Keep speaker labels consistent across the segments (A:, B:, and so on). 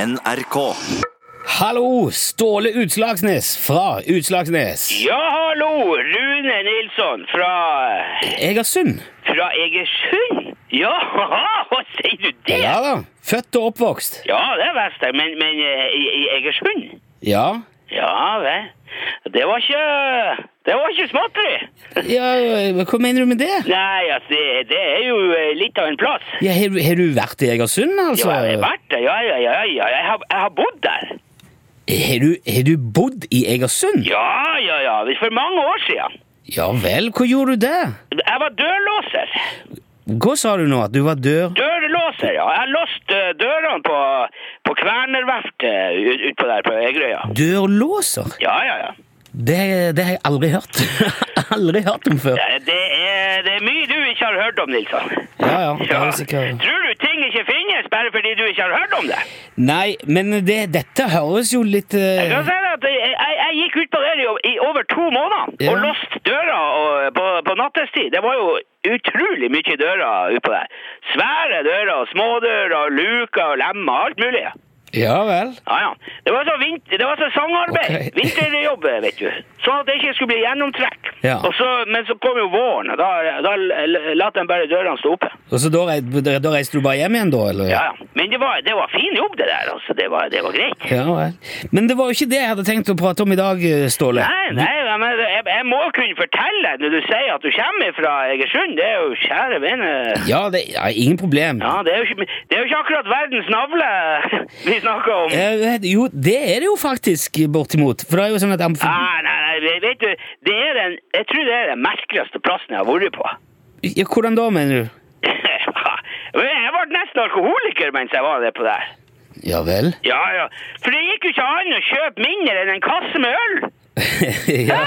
A: NRK.
B: Hallo, Ståle Utslagsnes fra Utslagsnes.
C: Ja, hallo! Rune Nilsson fra,
B: Egersund.
C: fra Egersund? Ja, hva sier du det?
B: Ja da. Født og oppvokst.
C: Ja, det visste jeg, men, men eh, i, i Egersund?
B: Ja.
C: Ja vel. Det var ikke Det var ikke småtteri!
B: ja hva mener du med det?
C: Nei, altså, det, det er jo eh, litt av en plass.
B: Ja, har, du- har du vært i Egersund,
C: Jo,
B: altså?
C: jeg har vært der, ja, ja, ja. ja. Jeg, har, jeg har bodd der.
B: Har du, har du bodd i Egersund?
C: Ja, ja, ja. For mange år siden.
B: Ja vel, hva gjorde du der?
C: Jeg var dørlåser.
B: Hva sa du nå, at du var dør...
C: Dørlåser, ja. Jeg låste eh, dørene på, på Kvernerverftet ut- utpå der på Egerøya.
B: Dørlåser?
C: Ja, ja, ja.
B: Det, det har jeg aldri hørt. aldri hørt om før.
C: Ja, Det er, det er mye du ikke har hørt om, Nilsson.
B: Ja, ja, det er sikkert-
C: Tror du ting ikke finnes bare fordi du ikke har hørt om det?
B: Nei, men det, dette høres jo litt
C: Jeg,
B: eh,
C: kan si deg at jeg, jeg, jeg gikk ut på det i, i over to måneder
B: Ja.
C: og låste døra og, på, på nattestid. Det var jo utrolig mye dører utpå der. Svære dører, og smådører, og luker og lemmer, alt mulig.
B: Ja vel.
C: Ja, ja. Det var så, vint, det var så sangarbeid.
B: Ok.
C: Vinterjobb, vet du. Sånn at det ikke skulle bli gjennomtrekk.
B: Ja.
C: Og så, men så kom jo våren, og da, da lot de bare dørene stå oppe.
B: Og så da, rei- da reiste du bare hjem igjen, da? eller?
C: Ja, ja. Men det var, det var fin jobb, det der. altså. Det var, det var greit.
B: Ja vel. Men det var jo ikke det jeg hadde tenkt å prate om i dag, eh, Ståle.
C: Nei, nei, nei, men jeg, jeg må kunne fortelle når du sier at du kommer fra Egersund. Det er jo kjære vene.
B: Ja, det, ja ingen problem.
C: Ja, det er, jo ikke, det er jo ikke akkurat verdens navle vi snakker om.
B: Jeg vet- Eh, jo, det er det jo faktisk, eh, bortimot. For det er jo sånn at amf
C: Nei, nei, nei, vet du, det er den, jeg tror det er den merkeligste plassen jeg har vært på.
B: ja, Hvordan da, mener du?
C: Jeg ble nesten alkoholiker mens jeg var der på der.
B: Ja vel.
C: Ja, ja. For det gikk jo ikke an å kjøpe mindre enn en kasse med øl.
B: ja.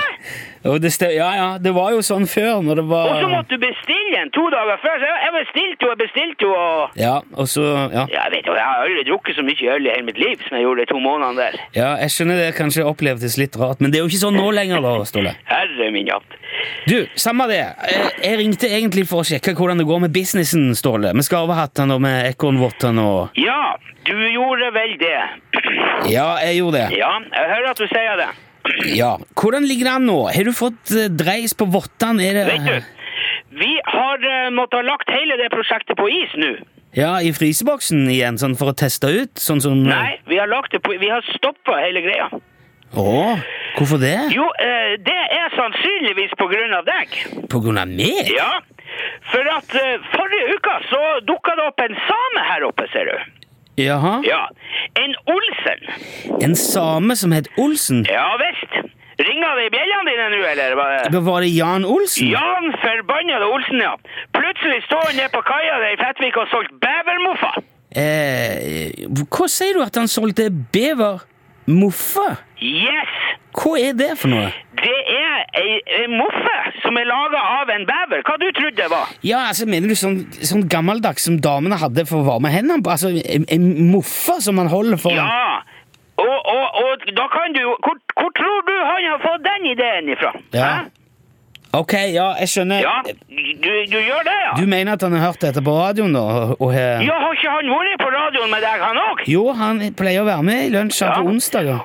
B: Og det stø- ja, ja, det var jo sånn før, når det var
C: Og så måtte du bestille en to dager før. Så jeg jeg bestilte jo, jeg bestilte jo, og...
B: Ja, og så ja.
C: Jeg vet jo, jeg har aldri drukket så mye øl i hele mitt liv som jeg gjorde de to månedene der.
B: ja, jeg skjønner det kanskje opplevdes litt rart, men det er jo ikke sånn nå lenger, da, Ståle.
C: Herre min jatt.
B: Du, samme det. Jeg, jeg ringte egentlig for å sjekke hvordan det går med businessen, Ståle. Med skarvehattene og med ekornvottene og
C: Ja, du gjorde vel det.
B: Ja, jeg gjorde det.
C: Ja, jeg hører at du sier det.
B: Ja. Hvordan ligger det an nå? Har du fått eh, dreis på vottene? Er det
C: Vet du, vi har eh, måttet ha lagt hele det prosjektet på is nå.
B: Ja, i fryseboksen igjen, sånn for å teste ut? Sånn som
C: Nei, vi har lagt det på, vi har stoppet hele greia.
B: Å, hvorfor det?
C: Jo, eh, det er sannsynligvis på grunn av deg.
B: På grunn av meg?
C: Ja, for at eh, forrige uka så dukket det opp en same her oppe, ser du.
B: Jaha.
C: Ja, en Olsen.
B: En same som het Olsen?
C: Ja visst. Ringer det i bjellene dine nå, eller? hva?
B: Da var det Jan Olsen?
C: Jan forbannede Olsen, ja. Plutselig står han nede på kaia der i Fettvik og har solgt bevermoffa.
B: Eh, hva sier du at han solgte bevermoffe?
C: Yes!
B: Hva er det for noe?
C: Det er ei, ei moffe som er laga av en bever. Hva du trodde det var?
B: Ja, altså, Mener du sånn, sånn gammeldags som damene hadde for å varme hendene på? Altså, en, en moffe som man holder for
C: Ja. Og, og, og da kan du jo hvor, hvor tror du han har fått den ideen ifra?
B: Ja.
C: Hæ?
B: Ok, ja, jeg skjønner.
C: ja. Du, du gjør det, ja?
B: Du mener at han har hørt dette på radioen, da? Og, og, har-
C: Ja, har ikke han vært på radioen med deg, han òg?
B: Jo, han pleier å være med i lunsj her
C: Ja.
B: på onsdager.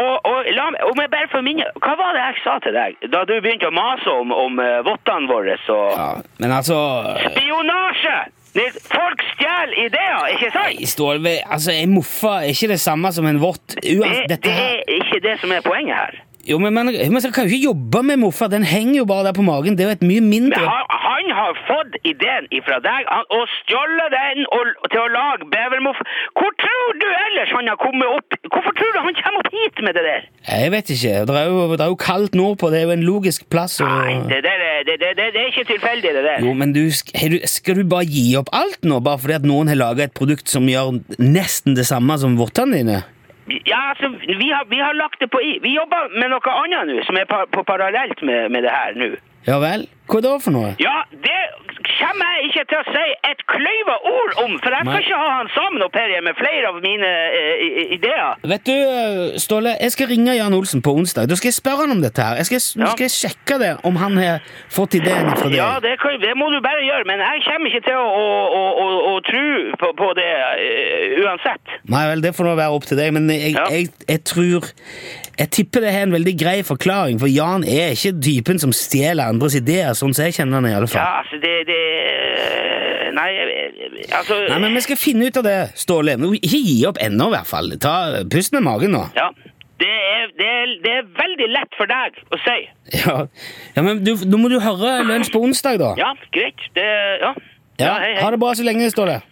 C: Og, og, la, meg- om jeg bare får minne, hva var det jeg sa til deg da du begynte å mase om, om eh, vottene våre? Så...
B: Ja, men altså
C: Spionasje! Det- Folk stjeler ideer, ikke sant?
B: Stålve, altså, ei moffe er ikke det samme som en vått. Uansett,
C: Det,
B: dette
C: det
B: her
C: er ikke det som er poenget her.
B: Jo, men man, man skal jo ikke jobbe med moffa, den henger jo bare der på magen. Det er jo et mye
C: Men
B: mindre
C: han, han har fått ideen ifra deg han, og stjålet den og, til å lage bevermoff. Hvor tror du ellers han har kommet opp? Hvorfor tror du han kommer opp hit med det der?
B: Jeg vet ikke. Det er jo, det er jo kaldt nordpå, det er jo en logisk plass. Og...
C: Nei, det, der, er- det, det, det, det er ikke tilfeldig, det der.
B: Jo, men du, sk- har du- skal du bare gi opp alt nå, bare fordi at noen har laga et produkt som gjør nesten det samme som vottene dine?
C: Ja, altså, vi har, vi har lagt det på i. Vi jobber med noe annet nå, som er pa på parallelt med, med det her nå.
B: Ja vel? Hva da for noe?
C: Ja, det kommer jeg ikke til å si et kløyva ord om, for jeg
B: Nei.
C: skal ikke ha han sammen au pair med flere av mine eh, i- i- ideer.
B: Vet du, Ståle, jeg skal ringe Jan Olsen på onsdag. Da skal jeg spørre han om dette her. Jeg skal, Nå
C: Ja.
B: skal jeg sjekke det, om han har fått ideen fra deg.
C: Ja, det, kan, det må du bare gjøre, men jeg kommer ikke til å, å, å, å, å tro på, på det eh, uansett.
B: Nei vel, det får nå være opp til deg, men jeg,
C: Ja.
B: jeg, jeg tror Jeg tipper det er en veldig grei forklaring, for Jan er ikke typen som stjeler andres ideer, sånn som jeg kjenner han i alle
C: Ja,
B: fall.
C: altså, det, det eh, Nei, eh, altså
B: Nei, men vi skal finne ut av det, Ståle. Men Ikke gi opp ennå, i hvert fall. Ta Pust med magen nå.
C: Ja. Det er, det, er, det er veldig lett for deg å si.
B: Ja, ja men du, Nå må du høre Lunsj på onsdag, da.
C: Ja, greit. Det Ja.
B: Ja, Ha det bra så lenge, Ståle.